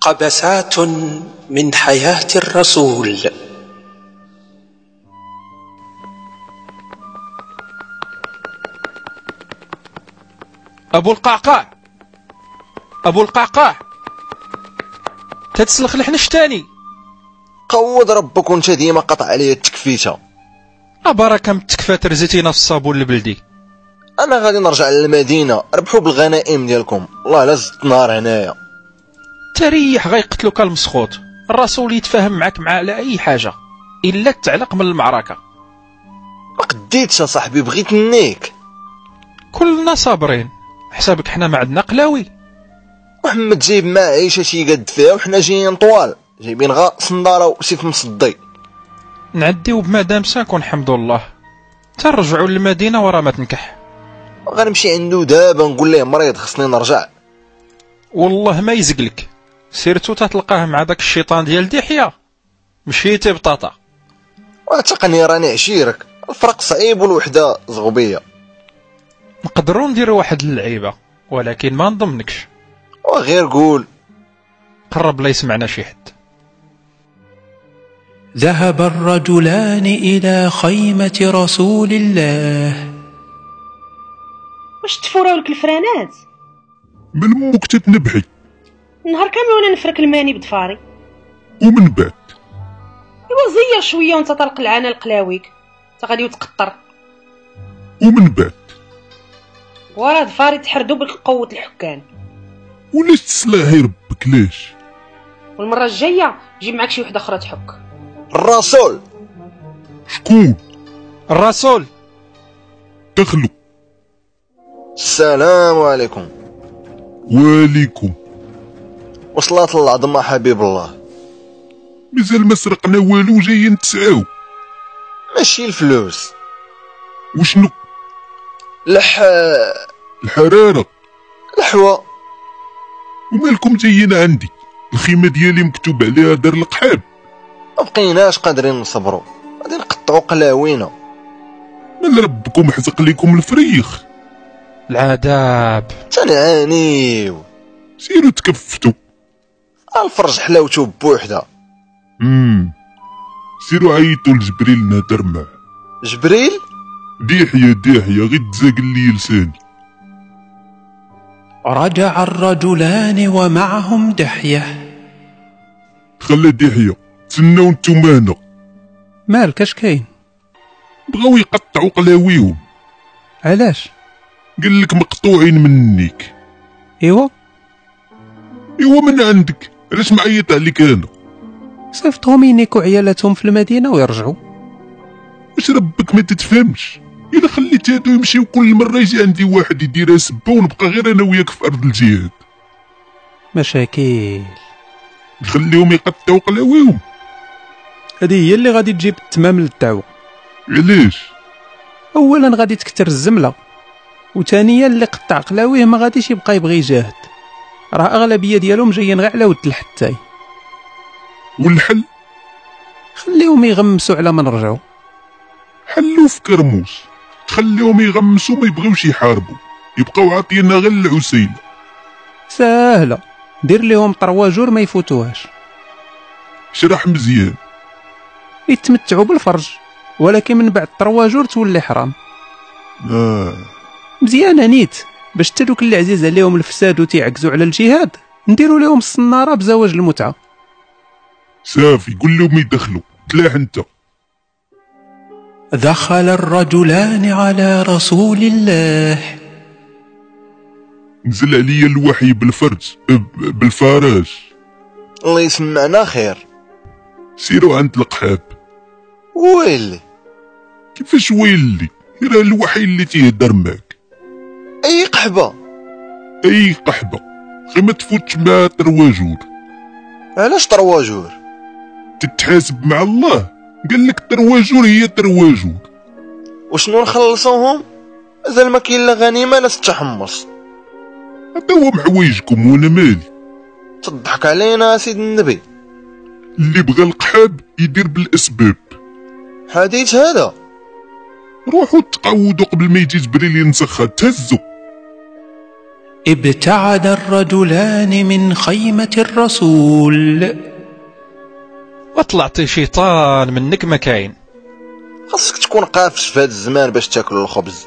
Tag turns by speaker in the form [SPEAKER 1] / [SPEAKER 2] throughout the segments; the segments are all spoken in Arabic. [SPEAKER 1] قبسات من حياه الرسول
[SPEAKER 2] ابو القعقاع ابو القعقاع تتسلخ الحنش تاني
[SPEAKER 3] قود ربك وانت ديما قطع عليا التكفيته
[SPEAKER 2] أبارك كم تكفات رزيتينا في الصابون البلدي
[SPEAKER 3] انا غادي نرجع للمدينه ربحوا بالغنائم ديالكم الله لا زدت نار هنايا
[SPEAKER 2] تريح غيقتلوك المسخوط الرسول يتفاهم معك مع على اي حاجه الا تعلق من المعركه
[SPEAKER 3] ما قديتش اصاحبي بغيت نيك
[SPEAKER 2] كلنا صابرين حسابك حنا ما عندنا قلاوي
[SPEAKER 3] محمد جايب معاه عيشه شي قد فيها وحنا جايين طوال جايبين غا صنداره وسيف مصدي
[SPEAKER 2] نعديو بمدام ساكن الحمد لله ترجعوا للمدينه ورا ما تنكح
[SPEAKER 3] غنمشي عنده دابا نقول ليه مريض خصني نرجع
[SPEAKER 2] والله ما يزقلك سيرتو تتلقاه مع داك الشيطان ديال دحية مشيتي بطاطا
[SPEAKER 3] واعتقني راني عشيرك الفرق صعيب والوحده زغبيه
[SPEAKER 2] نقدروا نديروا واحد اللعيبه ولكن ما نضمنكش
[SPEAKER 3] وغير قول
[SPEAKER 2] قرب لا يسمعنا شي حد
[SPEAKER 4] ذهب الرجلان إلى خيمة رسول الله
[SPEAKER 5] واش تفوراولك الفرانات
[SPEAKER 6] من وقت تنبحي
[SPEAKER 5] نهار كامل وانا نفرك الماني بدفاري
[SPEAKER 6] ومن بعد
[SPEAKER 5] ايوا زير شويه وانت طلق العانه لقلاويك انت غادي وتقطر
[SPEAKER 6] ومن بعد
[SPEAKER 5] وراه دفاري تحردو بالقوه الحكام
[SPEAKER 6] ولاش تسلاهي ربك ليش
[SPEAKER 5] والمره الجايه جيب معاك شي وحده اخرى تحك
[SPEAKER 3] الرسول
[SPEAKER 6] شكون
[SPEAKER 2] الرسول
[SPEAKER 6] دخلوا
[SPEAKER 3] السلام عليكم
[SPEAKER 6] وعليكم
[SPEAKER 3] وصلاة العظمى حبيب الله
[SPEAKER 6] مازال ما سرقنا والو جايين نتسعاو
[SPEAKER 3] ماشي الفلوس
[SPEAKER 6] وشنو
[SPEAKER 3] لح
[SPEAKER 6] الحراره
[SPEAKER 3] لحوة
[SPEAKER 6] ومالكم جايين عندي الخيمه ديالي مكتوب عليها دار القحاب
[SPEAKER 3] ما بقيناش قادرين نصبروا غادي نقطعوا قلاوينا
[SPEAKER 6] مال ربكم حزق ليكم الفريخ
[SPEAKER 2] العذاب
[SPEAKER 3] تنعانيو
[SPEAKER 6] سيروا تكفتوا
[SPEAKER 3] الفرج حلاوته بوحده
[SPEAKER 6] امم سيروا عيطوا لجبريل نهدر معاه
[SPEAKER 3] جبريل
[SPEAKER 6] ديحيا ديحيا غير تزاق لي لساني
[SPEAKER 4] رجع الرجلان ومعهم دحية
[SPEAKER 6] تخلى ديحيا تسناو نتوما هنا
[SPEAKER 4] مالكش كاين
[SPEAKER 6] بغاو يقطعوا قلاويهم
[SPEAKER 4] علاش
[SPEAKER 6] قال لك مقطوعين منك
[SPEAKER 4] ايوا
[SPEAKER 6] ايوا إيوه، من عندك علاش معيط عليك انا
[SPEAKER 4] صيفطهم ينيكو عيالاتهم في المدينة ويرجعوا
[SPEAKER 6] واش ربك ما تتفهمش الا خليت هادو يمشيو كل مره يجي عندي واحد يديرها سبه ونبقى غير انا وياك في ارض الجهاد
[SPEAKER 4] مشاكل
[SPEAKER 6] نخليهم يقطعوا قلاويهم
[SPEAKER 4] هذه هي اللي غادي تجيب التمام للدعوة
[SPEAKER 6] علاش
[SPEAKER 4] اولا غادي تكتر الزمله وثانيا اللي قطع قلاويه ما غاديش يبقى يبغي يجاهد راه اغلبيه ديالهم جايين غير على ود الحتاي
[SPEAKER 6] والحل
[SPEAKER 4] خليهم يغمسوا على ما نرجعوا
[SPEAKER 6] حلو في كرموس تخليهم يغمسوا ما يبغيوش يحاربوا يبقاو عاطينا غير العسيلة
[SPEAKER 4] ساهله دير لهم طرواجور ما يفوتوهاش
[SPEAKER 6] شرح مزيان
[SPEAKER 4] يتمتعوا بالفرج ولكن من بعد طرواجور تولي حرام
[SPEAKER 6] آه.
[SPEAKER 4] مزيانه نيت باش حتى دوك اللي عزيز عليهم الفساد وتيعكزوا على الجهاد نديروا لهم الصناره بزواج المتعه
[SPEAKER 6] صافي قول لهم يدخلوا تلاح انت
[SPEAKER 4] دخل الرجلان على رسول الله
[SPEAKER 6] نزل عليا الوحي بالفرج ب- بالفراش
[SPEAKER 3] الله يسمعنا خير
[SPEAKER 6] سيروا عند القحاب
[SPEAKER 3] ويلي
[SPEAKER 6] كيفاش ويلي راه الوحي اللي تيهدر معك
[SPEAKER 3] اي قحبه
[SPEAKER 6] اي قحبه غير ما تفوتش مع ترواجور
[SPEAKER 3] علاش طرواجور
[SPEAKER 6] تتحاسب مع الله قال لك ترواجور هي ترواجور
[SPEAKER 3] وشنو نخلصوهم مازال ما كاين لا غنيمه لا تتحمص
[SPEAKER 6] هذا هو محوايجكم وانا مالي
[SPEAKER 3] تضحك علينا سيد النبي
[SPEAKER 6] اللي بغى القحاب يدير بالاسباب
[SPEAKER 3] حديث هذا
[SPEAKER 6] روحوا تقعودوا قبل ما يجي جبريل ينسخها تهزوا
[SPEAKER 4] ابتعد الرجلان من خيمة الرسول
[SPEAKER 2] وطلعتي شيطان منك ما كاين
[SPEAKER 3] خاصك تكون قافش في هذا الزمان باش تاكل الخبز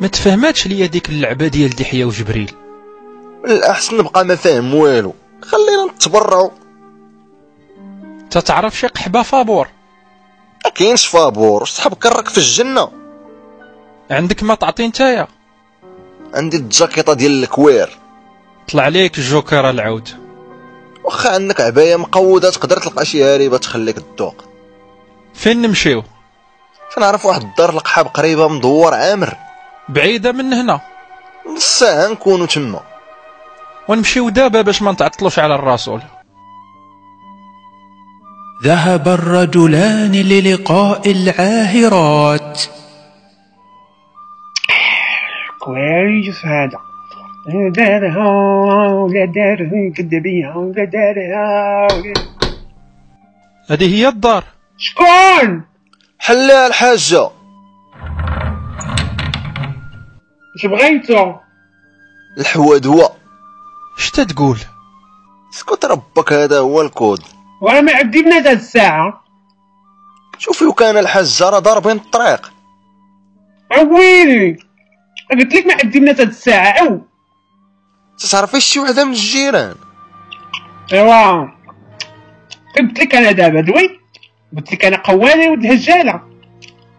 [SPEAKER 2] ما تفهماتش ليا ديك اللعبه ديال دحيه وجبريل
[SPEAKER 3] من الاحسن نبقى ما فاهم والو خلينا نتبرعوا
[SPEAKER 2] تتعرف شي قحبه فابور
[SPEAKER 3] ما كاينش فابور صحاب كرك في الجنه
[SPEAKER 2] عندك ما تعطي نتايا
[SPEAKER 3] عندي الجاكيطه ديال الكوير
[SPEAKER 2] طلع ليك الجوكر العود
[SPEAKER 3] واخا عندك عبايه مقوده تقدر تلقى شي هريبه تخليك تدوق
[SPEAKER 2] فين نمشيو
[SPEAKER 3] فنعرف واحد الدار القحاب قريبه من دوار عامر
[SPEAKER 2] بعيده من هنا
[SPEAKER 3] نص ساعه نكونوا تما
[SPEAKER 2] ونمشيو دابا باش ما نتعطلوش على الرسول
[SPEAKER 4] ذهب الرجلان للقاء العاهرات
[SPEAKER 7] كويس هذا دارها ولا دارها كدبيها ولا دارها ولا-
[SPEAKER 2] هذه هي الدار
[SPEAKER 7] شكون
[SPEAKER 3] حلا الحاجه
[SPEAKER 7] اش بغيتو
[SPEAKER 3] الحوادوه
[SPEAKER 2] شتا تقول
[SPEAKER 3] اسكت ربك هذا هو الكود
[SPEAKER 7] وانا ما عدينا هاد الساعه
[SPEAKER 3] شوفي وكان الحاج راه ضاربين الطريق
[SPEAKER 7] عويلي قلت لك ما عدينا هاد الساعه او
[SPEAKER 3] تتعرفي شي وحده من الجيران
[SPEAKER 7] ايوا قلت لك انا دابا دوي قلت لك انا قواني ولد الهجاله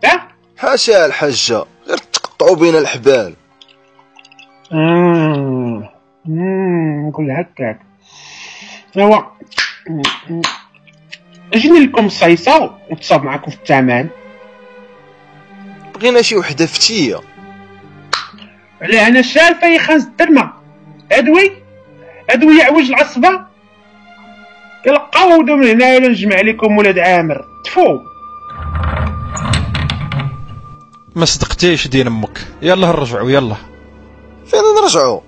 [SPEAKER 7] ها
[SPEAKER 3] حاشا الحاجه غير تقطعوا بين الحبال
[SPEAKER 7] آه. مم، نقول هكاك ايوا مم. اجيني لكم الصيصه ونتصاب معكم في الثمن
[SPEAKER 3] بغينا شي وحده فتيه
[SPEAKER 7] على انا شارفه يا خاص الدرمه ادوي ادوي يعوج العصبه يلقاو من هنا الا نجمع لكم ولاد عامر تفو
[SPEAKER 2] ما صدقتيش دين امك يلا نرجعوا يلا
[SPEAKER 3] فين نرجعوا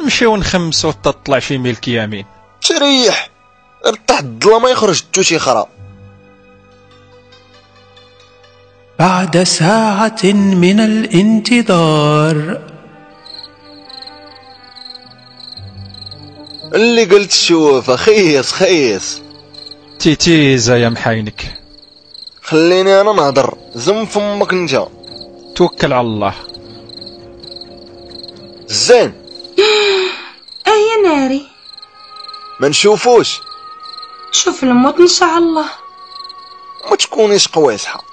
[SPEAKER 2] نمشيو نخمسو حتى تطلع شي ملك يمين
[SPEAKER 3] تريح ارتاح الظلمه يخرج التوتي خرا
[SPEAKER 4] بعد ساعة من الانتظار
[SPEAKER 3] اللي قلت شوفه خيس خيس
[SPEAKER 2] تيتيزا يا محاينك
[SPEAKER 3] خليني انا نهضر زم فمك انت
[SPEAKER 2] توكل على الله
[SPEAKER 3] زين
[SPEAKER 8] اه يا ناري
[SPEAKER 3] ما نشوفوش
[SPEAKER 8] شوف الموت ان شاء الله
[SPEAKER 3] ما تكونيش قويصحه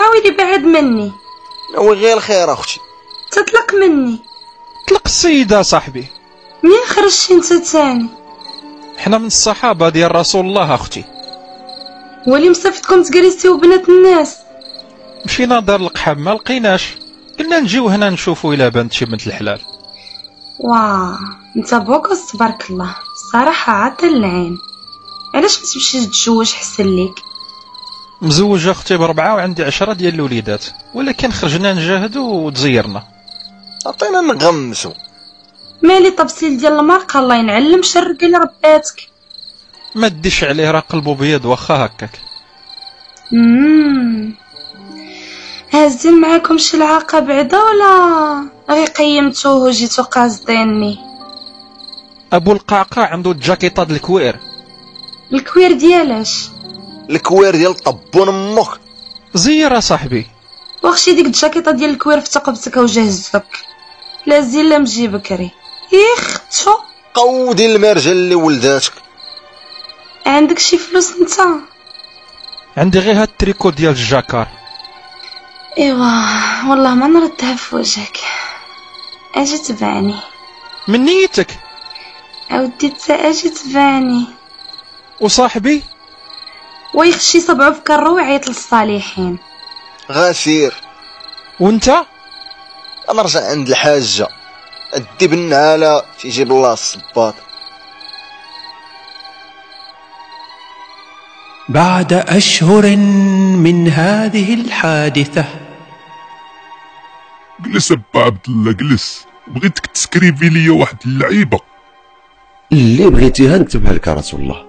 [SPEAKER 8] عاودي بعد مني
[SPEAKER 3] ناوي غير الخير اختي
[SPEAKER 8] تطلق مني
[SPEAKER 2] طلق السيدة صاحبي
[SPEAKER 8] منين خرجتي انت تاني
[SPEAKER 2] حنا من الصحابة ديال رسول الله أختي
[SPEAKER 8] ولي مسافتكم تجلستي وبنات الناس
[SPEAKER 2] مشينا دار القحاب ما لقيناش قلنا نجيو هنا نشوفو إلا بانت شي بنت الحلال
[SPEAKER 8] واه انت بوكس تبارك الله الصراحه عاد العين علاش ما تمشي تتزوج حسن ليك
[SPEAKER 2] مزوج أختي بربعة وعندي عشرة ديال الوليدات ولكن خرجنا نجاهد وتزيرنا
[SPEAKER 3] عطينا نغمسو
[SPEAKER 8] مالي طبسيل ديال المارقه الله ينعلم شر قال رباتك
[SPEAKER 2] ما ديش عليه راه قلبو بيض واخا هكاك
[SPEAKER 8] مم. هازين معاكم شي العاقه بعدا ولا غير قيمتوه وجيتو قاصديني
[SPEAKER 2] أبو القعقاع عنده جاكيطة د الكوير
[SPEAKER 8] الكوير ديالاش
[SPEAKER 3] الكوير ديال طبون امك
[SPEAKER 2] زير صاحبي
[SPEAKER 8] واخشي ديك الجاكيطه ديال الكوير في ثقبتك وجهزتك لا زين لا مجي بكري يخ تشو
[SPEAKER 3] قودي المرجل اللي ولداتك
[SPEAKER 8] عندك شي فلوس نتا
[SPEAKER 2] عندي غير هاد التريكو ديال الجاكار
[SPEAKER 8] ايوا والله ما نردها في وجهك اجي تبعني
[SPEAKER 2] من نيتك
[SPEAKER 8] اودي تا اجي تبعني
[SPEAKER 2] وصاحبي
[SPEAKER 8] ويخشي صبعو في كرو ويعيط للصالحين
[SPEAKER 3] غسير
[SPEAKER 2] وانت
[SPEAKER 3] انا رجع عند الحاجه ادي بالنعاله تيجيب الله الصباط
[SPEAKER 4] بعد أشهر من هذه الحادثة
[SPEAKER 6] جلس با عبد الله جلس بغيتك تسكريفي ليا واحد اللعيبه
[SPEAKER 9] اللي بغيتيها نكتبها لك يا رسول الله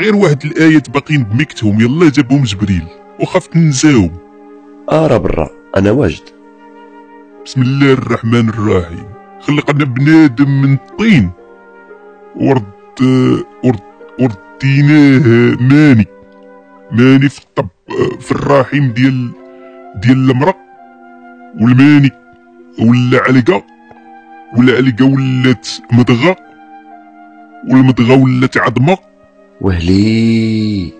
[SPEAKER 6] غير واحد الايات باقيين بمكتهم يلا جابهم جبريل وخفت ننساهم
[SPEAKER 9] ارى برا انا واجد
[SPEAKER 6] بسم الله الرحمن الرحيم خلقنا بنادم من الطين ورد ورد ورديناه ماني ماني في الطب في الرحم ديال ديال المرأة والماني ولا علقة والعلقة ولات مضغة والمضغة ولات عظمة
[SPEAKER 9] وهلي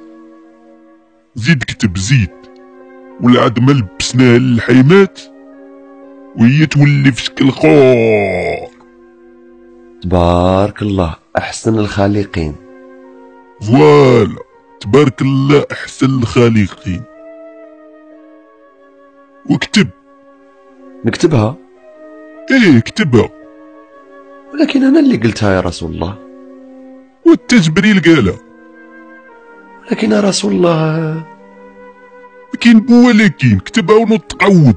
[SPEAKER 6] زيد كتب زيد والعظمة لبسناها للحيمات وهي تولي في شكل خور
[SPEAKER 9] تبارك الله احسن الخالقين
[SPEAKER 6] فوالا تبارك الله احسن الخالقين وكتب
[SPEAKER 9] نكتبها
[SPEAKER 6] ايه كتبها
[SPEAKER 9] ولكن انا اللي قلتها يا رسول الله
[SPEAKER 6] والتجبريل قالها
[SPEAKER 9] ولكن يا رسول الله
[SPEAKER 6] لكن ولكن كتبها ونتعود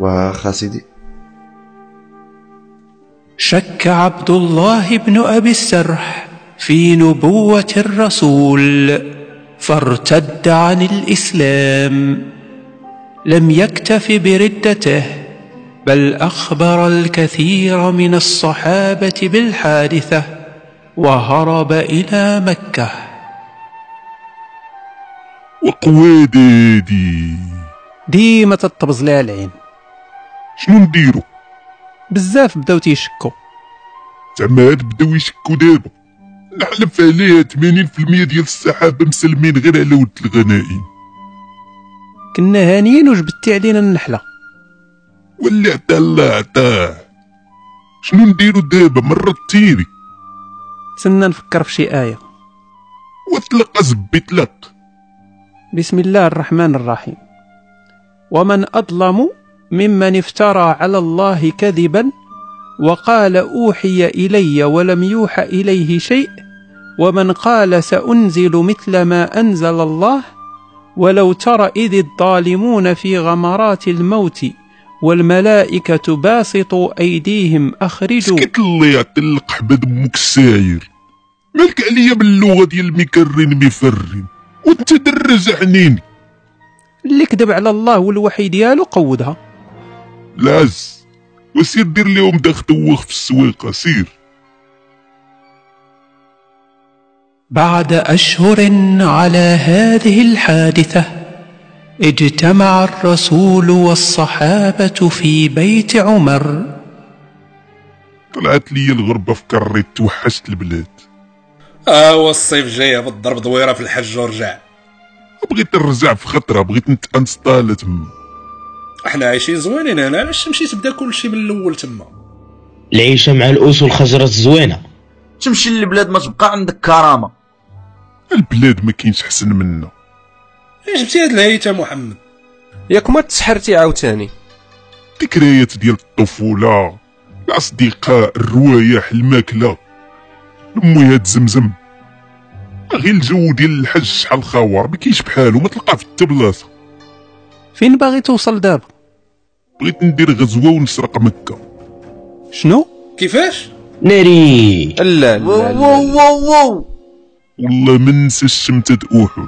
[SPEAKER 9] واخا سيدي
[SPEAKER 4] شك عبد الله بن ابي السرح في نبوه الرسول فارتد عن الاسلام لم يكتف بردته بل اخبر الكثير من الصحابه بالحادثه وهرب الى مكه
[SPEAKER 6] وقوادادي
[SPEAKER 10] ديما تطبز لها العين
[SPEAKER 6] شنو نديرو
[SPEAKER 10] بزاف بداو تيشكوا
[SPEAKER 6] زعما هاد بداو يشكو دابا نحلف عليها 80% ديال السحابه مسلمين غير على ود الغنائم
[SPEAKER 10] كنا هانيين وجبتي علينا النحله
[SPEAKER 6] واللي عطاه الله عطاه شنو نديرو دابا مرة تيري
[SPEAKER 10] تسنى نفكر في شي ايه
[SPEAKER 6] وتلقى زبي تلق
[SPEAKER 10] بسم الله الرحمن الرحيم ومن أظلم ممن افترى على الله كذبا وقال أوحي إلي ولم يوحى إليه شيء ومن قال سأنزل مثل ما أنزل الله ولو ترى إذ الظالمون في غمرات الموت والملائكة باسطوا أيديهم أخرجوا
[SPEAKER 6] سكت الله يعطي القحبة دمك الساير مالك عليا باللغة ديال مكرن مفرن وانت درز حنيني
[SPEAKER 10] اللي كذب على الله والوحي ديالو قودها
[SPEAKER 6] العز وسير دير لهم داخ دوخ في السويقة سير
[SPEAKER 4] بعد اشهر على هذه الحادثه اجتمع الرسول والصحابه في بيت عمر
[SPEAKER 6] طلعت لي الغربة في كريت توحشت البلاد
[SPEAKER 11] اه والصيف جاي بالضرب دويره في الحج ورجع
[SPEAKER 6] بغيت نرجع في خطرة بغيت نتانستال تما
[SPEAKER 11] احنا عايشين زوينين هنا علاش مشيت بدا كلشي من الاول تما
[SPEAKER 12] العيشة مع الأس والخزرة زوينة
[SPEAKER 13] تمشي للبلاد ما تبقى عندك كرامه
[SPEAKER 6] البلاد ما كاينش حسن منا
[SPEAKER 11] علاش جبتي هاد الهيت يا محمد
[SPEAKER 2] ياك ما تسحرتي عاوتاني
[SPEAKER 6] ذكريات ديال الطفولة الأصدقاء الروايح الماكلة المي هاد زمزم غير الجو ديال الحج شحال خاور ما كاينش بحالو ما تلقاه في حتى بلاصة
[SPEAKER 10] فين باغي توصل دابا
[SPEAKER 6] بغيت ندير غزوة ونسرق مكة
[SPEAKER 10] شنو
[SPEAKER 11] كيفاش
[SPEAKER 12] ناري
[SPEAKER 2] لا
[SPEAKER 13] واو واو واو واو
[SPEAKER 6] والله ما ننسى الشمتة أحد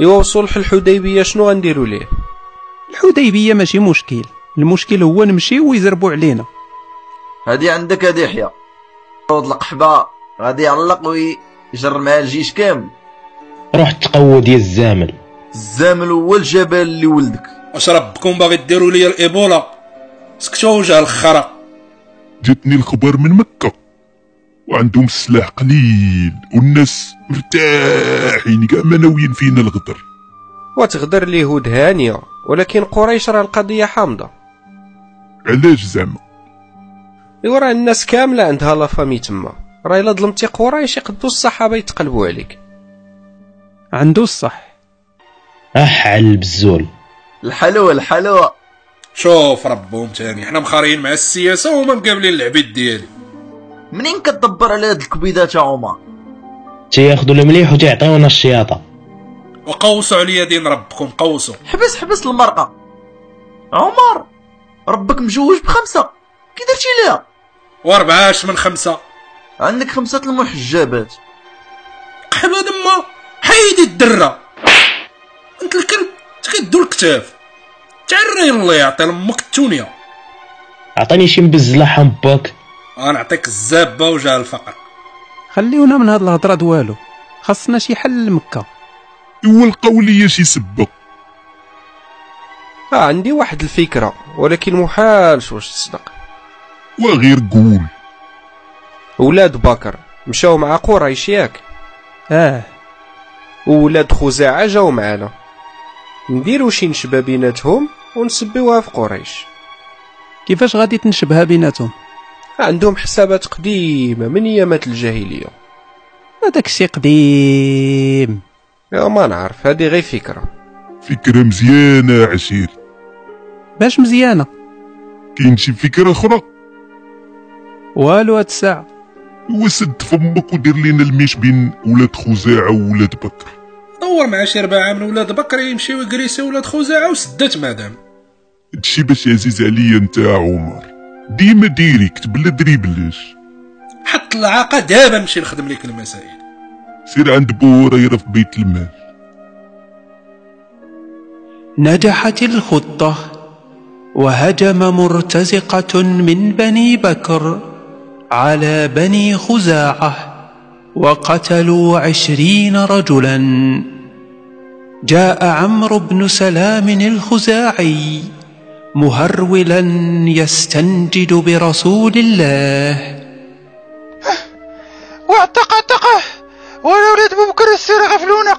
[SPEAKER 2] ايوا صلح الحديبيه شنو غنديروا ليه
[SPEAKER 10] الحديبية ماشي مشكل المشكل هو نمشي ويزربوا علينا
[SPEAKER 13] هادي عندك هادي يحيى رود القحبه غادي يعلق ويجر معاه الجيش كامل
[SPEAKER 12] روح تقوى ديال الزامل
[SPEAKER 13] الزامل هو الجبل اللي ولدك
[SPEAKER 11] واش ربكم باغي ديروا ليا الايبولا سكتوا وجه الخرا
[SPEAKER 6] جاتني الخبر من مكة وعندهم السلاح قليل والناس مرتاحين كاع ما ناويين فينا الغدر
[SPEAKER 2] وتغدر اليهود هانيه ولكن قريش راه القضيه حامضه
[SPEAKER 6] علاش زعما
[SPEAKER 2] ايوا راه الناس كامله عندها لافامي تما راه الا ظلمتي قريش يقدو الصحابه يتقلبوا عليك
[SPEAKER 10] عنده الصح
[SPEAKER 12] أح على البزول
[SPEAKER 13] الحلوه الحلوه
[SPEAKER 11] شوف ربهم تاني حنا مخارين مع السياسه وهما مقابلين العبيد ديالي
[SPEAKER 13] منين كتدبر على هاد الكبيدات يا عمر
[SPEAKER 12] تياخدو المليح وتيعطيونا الشياطة
[SPEAKER 11] وقوسوا عليا دين ربكم قوسوا
[SPEAKER 13] حبس حبس المرأة عمر ربك مجوج بخمسة كي درتي ليها
[SPEAKER 11] واربعاش من خمسه
[SPEAKER 13] عندك خمسة المحجبات
[SPEAKER 11] قحبه دما حيدي الدره انت الكلب تكدو الكتاف تعري الله يعطي لامك التونيه
[SPEAKER 12] عطيني شي مبزله حمبك
[SPEAKER 11] غنعطيك الزابه وجه الفقر
[SPEAKER 10] خليونا من هاد الهضره دوالو خاصنا شي حل لمكه
[SPEAKER 6] ولقاو ليا شي سبه
[SPEAKER 14] آه عندي واحد الفكرة ولكن محال واش تصدق
[SPEAKER 6] وغير قول
[SPEAKER 14] ولاد بكر مشاو مع قريش ياك
[SPEAKER 10] اه
[SPEAKER 14] وولاد خزاعة جاو معانا نديرو شي نشبة بيناتهم ونسبيوها في قريش
[SPEAKER 10] كيفاش غادي تنشبها بيناتهم
[SPEAKER 14] عندهم حسابات قديمة من ايامات الجاهلية
[SPEAKER 10] هذاك الشيء قديم
[SPEAKER 14] يا ما نعرف هذه غير فكرة
[SPEAKER 6] فكره مزيانه عشير
[SPEAKER 10] باش مزيانه
[SPEAKER 6] كاين شي فكره اخرى
[SPEAKER 10] والو هاد الساعه
[SPEAKER 6] وسد فمك ودير لينا الميش بين ولاد خزاعه وولاد بكر
[SPEAKER 11] دور مع شي رباعه من ولاد بكر يمشيو يجريسي ولاد خزاعه وسدات مادام
[SPEAKER 6] هادشي باش عزيز عليا انت يا عمر ديما ديريكت بلا دريبلاش
[SPEAKER 11] حط العاقه دابا نمشي نخدم ليك المسائل
[SPEAKER 6] سير عند بو هريره في بيت المال
[SPEAKER 4] نجحت الخطة وهجم مرتزقة من بني بكر على بني خزاعة وقتلوا عشرين رجلا جاء عمرو بن سلام الخزاعي مهرولا يستنجد برسول الله
[SPEAKER 15] واعتق اعتقه والولاد بكر السير غفلونا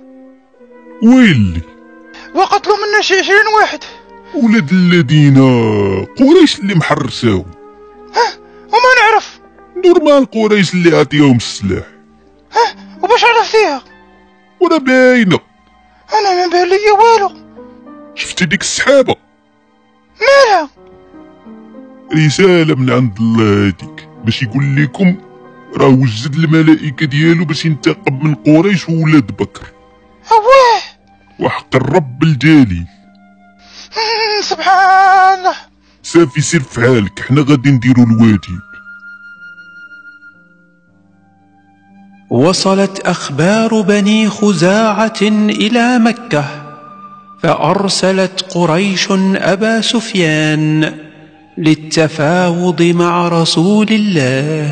[SPEAKER 6] ويلي
[SPEAKER 15] وقتلوا منا شي عشرين واحد
[SPEAKER 6] ولاد الذين قريش اللي محرساو
[SPEAKER 15] وما نعرف
[SPEAKER 6] نورمال قريش اللي عطيهم السلاح
[SPEAKER 15] وباش عرفتيها
[SPEAKER 6] وانا باينه
[SPEAKER 15] انا ما بان ليا والو
[SPEAKER 6] شفتي ديك السحابه
[SPEAKER 15] مالها
[SPEAKER 6] رساله من عند الله هذيك باش يقول لكم راه وجد الملائكه ديالو باش ينتقم من قريش وولاد بكر
[SPEAKER 15] اواه
[SPEAKER 6] وحق الرب الجليل
[SPEAKER 15] مم، سبحان الله
[SPEAKER 6] صافي سير في حالك حنا غادي نديرو الواجب
[SPEAKER 4] وصلت أخبار بني خزاعة إلى مكة فأرسلت قريش أبا سفيان للتفاوض مع رسول الله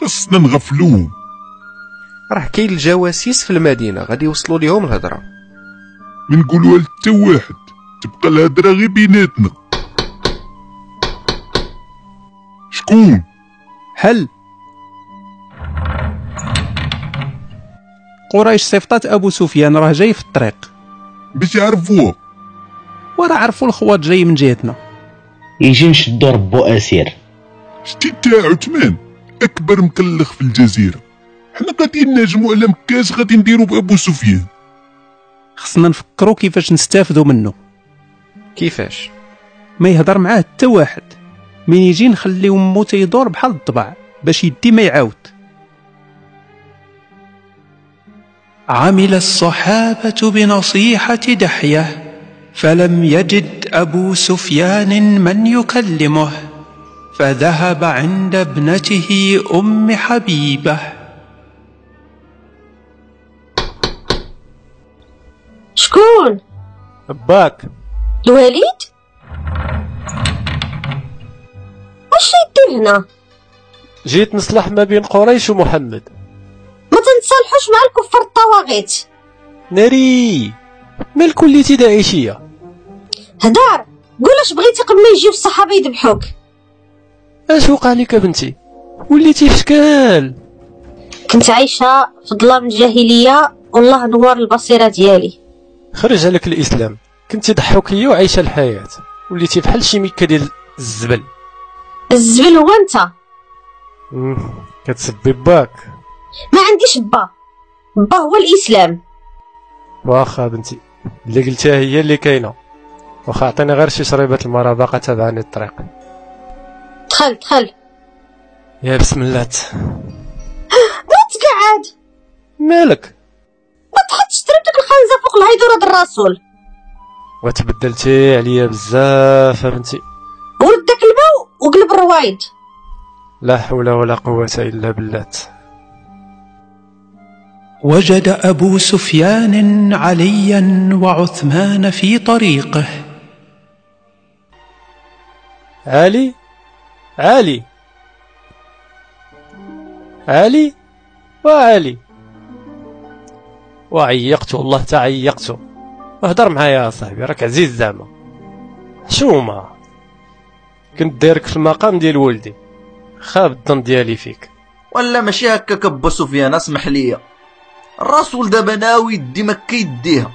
[SPEAKER 6] خصنا نغفلوهم
[SPEAKER 14] راه كاين الجواسيس في المدينة غادي يوصلوا ليهم الهضرة
[SPEAKER 6] ما نقولوها لتا واحد تبقى الهضره غير بيناتنا شكون
[SPEAKER 10] هل قريش صيفطات ابو سفيان راه جاي في الطريق
[SPEAKER 6] باش يعرفوه
[SPEAKER 10] وراه عرفوا الخوات جاي من جهتنا
[SPEAKER 12] يجي نشدو ربو اسير
[SPEAKER 6] شتي تا عثمان اكبر مكلخ في الجزيره حنا غادي نهاجمو على مكاش غادي نديرو بابو سفيان
[SPEAKER 10] خصنا نفكروا كيفاش نستافدوا منه
[SPEAKER 14] كيفاش
[SPEAKER 10] ما يهضر معاه حتى واحد من يجي نخليو مو تيدور بحال الضبع باش يدي ما يعاود
[SPEAKER 4] عمل الصحابة بنصيحة دحية فلم يجد أبو سفيان من يكلمه فذهب عند ابنته أم حبيبة
[SPEAKER 16] شكون
[SPEAKER 17] باك
[SPEAKER 16] الواليد اش يدير هنا
[SPEAKER 17] جيت نصلح ما بين قريش ومحمد
[SPEAKER 16] ما تنتصالحوش مع الكفار الطواغيت
[SPEAKER 17] ناري ما الكليتي داعشية
[SPEAKER 16] هدار قول اش بغيتي قبل ما يجيو الصحابه يذبحوك
[SPEAKER 17] اش وقع لك بنتي وليتي في شكال
[SPEAKER 16] كنت عايشه في ظلام الجاهليه والله نور البصيره ديالي
[SPEAKER 17] خرج عليك الاسلام كنتي ضحوكيه وعايشه الحياه وليتي بحال شي ميكه ديال الزبل
[SPEAKER 16] الزبل هو انت
[SPEAKER 17] مم، كتسبي باك
[SPEAKER 16] ما عنديش با با هو الاسلام
[SPEAKER 17] واخا بنتي اللي قلتها هي اللي كاينه واخا عطيني غير شي شريبه المرا باقا تابعاني الطريق
[SPEAKER 16] دخل دخل
[SPEAKER 17] يا بسم الله
[SPEAKER 16] ما تقعد
[SPEAKER 17] مالك
[SPEAKER 16] ما تحطش تريب ديك الخنزه فوق الهيدوره د الرسول
[SPEAKER 17] وتبدلتي عليا بزاف بنتي
[SPEAKER 16] ولد داك الماء وقلب الروايد
[SPEAKER 17] لا حول ولا قوه الا بالله
[SPEAKER 4] وجد أبو سفيان عليا وعثمان في طريقه
[SPEAKER 17] علي علي علي وعلي وعيقته والله تعيقته اهدر معايا يا صاحبي راك عزيز زعما شو ما كنت دايرك في المقام ديال ولدي خاب الظن ديالي فيك
[SPEAKER 13] ولا ماشي هكاك با سفيان اسمح ليا الرسول دابا ناوي يدي ما كيديها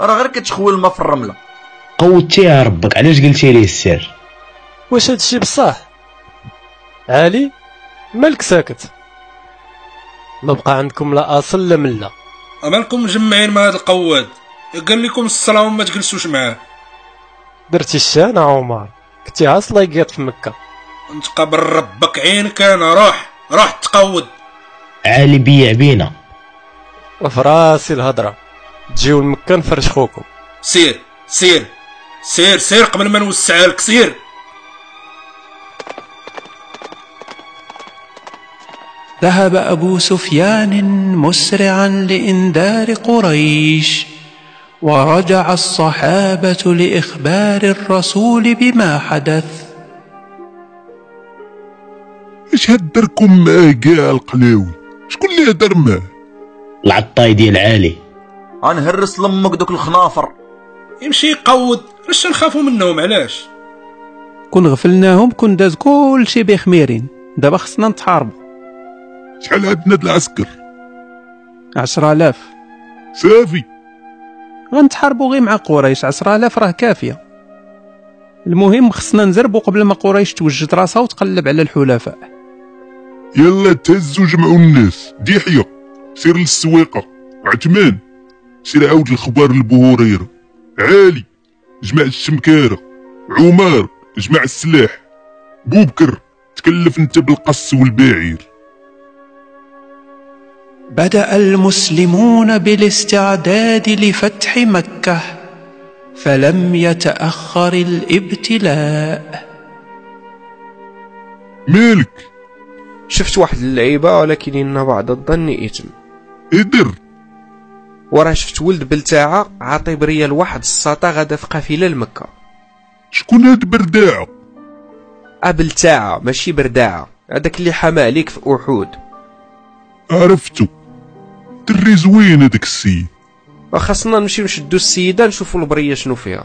[SPEAKER 13] راه غير كتخوي الماء في الرمله
[SPEAKER 12] قوتيها ربك علاش قلتي ليه السر
[SPEAKER 17] واش هادشي بصح علي مالك ساكت ما بقى عندكم لا اصل لا مله
[SPEAKER 11] امالكم مجمعين مع هذا القواد قال لكم الصلاه وما تجلسوش معاه
[SPEAKER 17] درتي الشان عمر كنتي عاصله يقيط في مكه
[SPEAKER 11] انت قبل ربك عينك انا روح روح تقود
[SPEAKER 12] عالي بيع بينا
[SPEAKER 17] في راسي الهضره تجيو لمكه نفرشخوكم
[SPEAKER 11] سير سير سير سير قبل ما نوسعها لك سير
[SPEAKER 4] ذهب ابو سفيان مسرعا لانذار قريش ورجع الصحابه لاخبار الرسول بما حدث
[SPEAKER 6] اش هدركم معاه كاع القلاوي شكون اللي هدر معاه
[SPEAKER 12] العطاي ديال عالي
[SPEAKER 13] غنهرس لامك دوك الخنافر
[SPEAKER 11] يمشي يقود علاش نخافوا منهم علاش
[SPEAKER 10] كون غفلناهم كون داز كلشي بخميرين دابا خصنا نتحاربوا
[SPEAKER 6] شحال عندنا د العسكر
[SPEAKER 10] عشرة آلاف
[SPEAKER 6] صافي
[SPEAKER 10] غنتحاربوا غير مع قريش عشرة آلاف راه كافية المهم خصنا نزربوا قبل ما قريش توجد راسها وتقلب على الحلفاء
[SPEAKER 6] يلا تهزوا جمعوا الناس ديحية سير للسويقة عثمان سير عاود الخبار لبو هريرة عالي جمع الشمكارة عمار جمع السلاح بوبكر تكلف انت بالقص والبعير
[SPEAKER 4] بدا المسلمون بالاستعداد لفتح مكه فلم يتاخر الابتلاء
[SPEAKER 6] مالك
[SPEAKER 14] شفت واحد اللعيبه ولكن ان بعض الظن اثم
[SPEAKER 6] ادر
[SPEAKER 14] وراه شفت ولد بلتاعه عاطي بريال واحد الساطا غادا في قافله لمكه
[SPEAKER 6] شكون هاد برداعه
[SPEAKER 14] بلتاعه ماشي برداعه هذاك اللي حمى عليك في احود
[SPEAKER 6] عرفتو دري زوين هذاك السيد
[SPEAKER 14] وخاصنا نمشيو نشدو السيده نشوفو البريه شنو فيها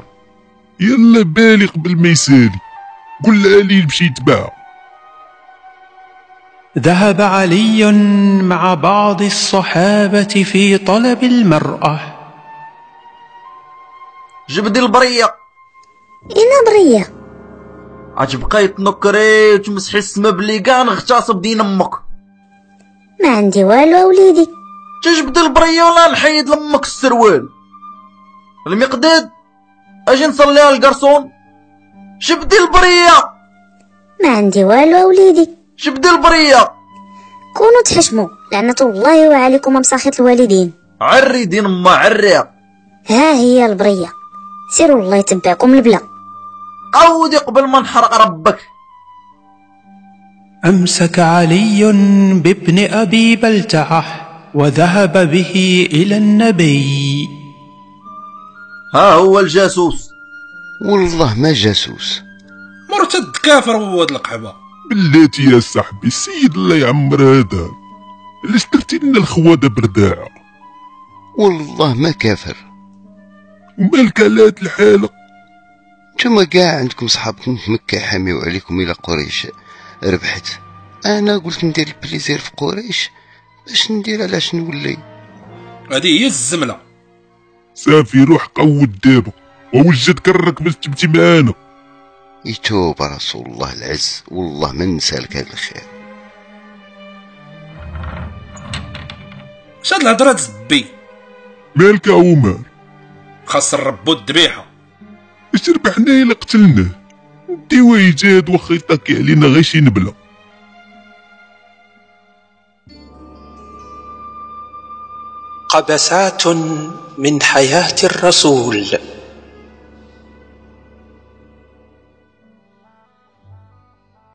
[SPEAKER 6] يلا بالي قبل ما يسالي قول لعلي يمشي يتباع
[SPEAKER 4] ذهب علي مع بعض الصحابه في طلب المراه
[SPEAKER 13] جبدي البريه
[SPEAKER 18] انا بريه
[SPEAKER 13] عتبقى يتنكري وتمسحي السما بلي كاع نغتصب دين امك
[SPEAKER 18] ما عندي والو اوليدي
[SPEAKER 13] تجبد البريه ولا نحيد لامك السروال المقداد اجي نصليها القرصون جبدي البريه
[SPEAKER 18] ما عندي والو اوليدي
[SPEAKER 13] جبدي البريه
[SPEAKER 18] كونوا تحشموا لعنة الله وعليكم مساخط الوالدين
[SPEAKER 13] عري دين ما عريها
[SPEAKER 18] ها هي البريه سيروا الله يتبعكم البلا
[SPEAKER 13] عودي قبل ما نحرق ربك
[SPEAKER 4] امسك علي بابن ابي بلتعه وذهب به الى النبي
[SPEAKER 13] ها هو الجاسوس
[SPEAKER 19] والله ما جاسوس
[SPEAKER 11] مرتد كافر هو هاد القحبه
[SPEAKER 6] بلاتي يا صاحبي السيد الله يعمر هذا علاش درتي لنا الخواده برداعه
[SPEAKER 19] والله ما كافر
[SPEAKER 6] ومالك على هاد الحاله
[SPEAKER 19] نتوما كاع عندكم صحابكم في مكه حاميو عليكم الى قريش ربحت انا قلت ندير البليزير في قريش باش ندير علاش نولي
[SPEAKER 11] هذه هي الزمله
[SPEAKER 6] صافي روح قود دابا ووجد كرك باش تبتي معانا
[SPEAKER 19] يتوب رسول الله العز والله ما نسالك هذا الخير
[SPEAKER 11] شاد الهضره تزبي
[SPEAKER 6] مالك يا عمر
[SPEAKER 11] خاص نربو الذبيحه
[SPEAKER 6] اش ربحنا الا قتلناه ديوا يجاد واخا يطاكي علينا غير شي نبله
[SPEAKER 4] قبسات من حياه الرسول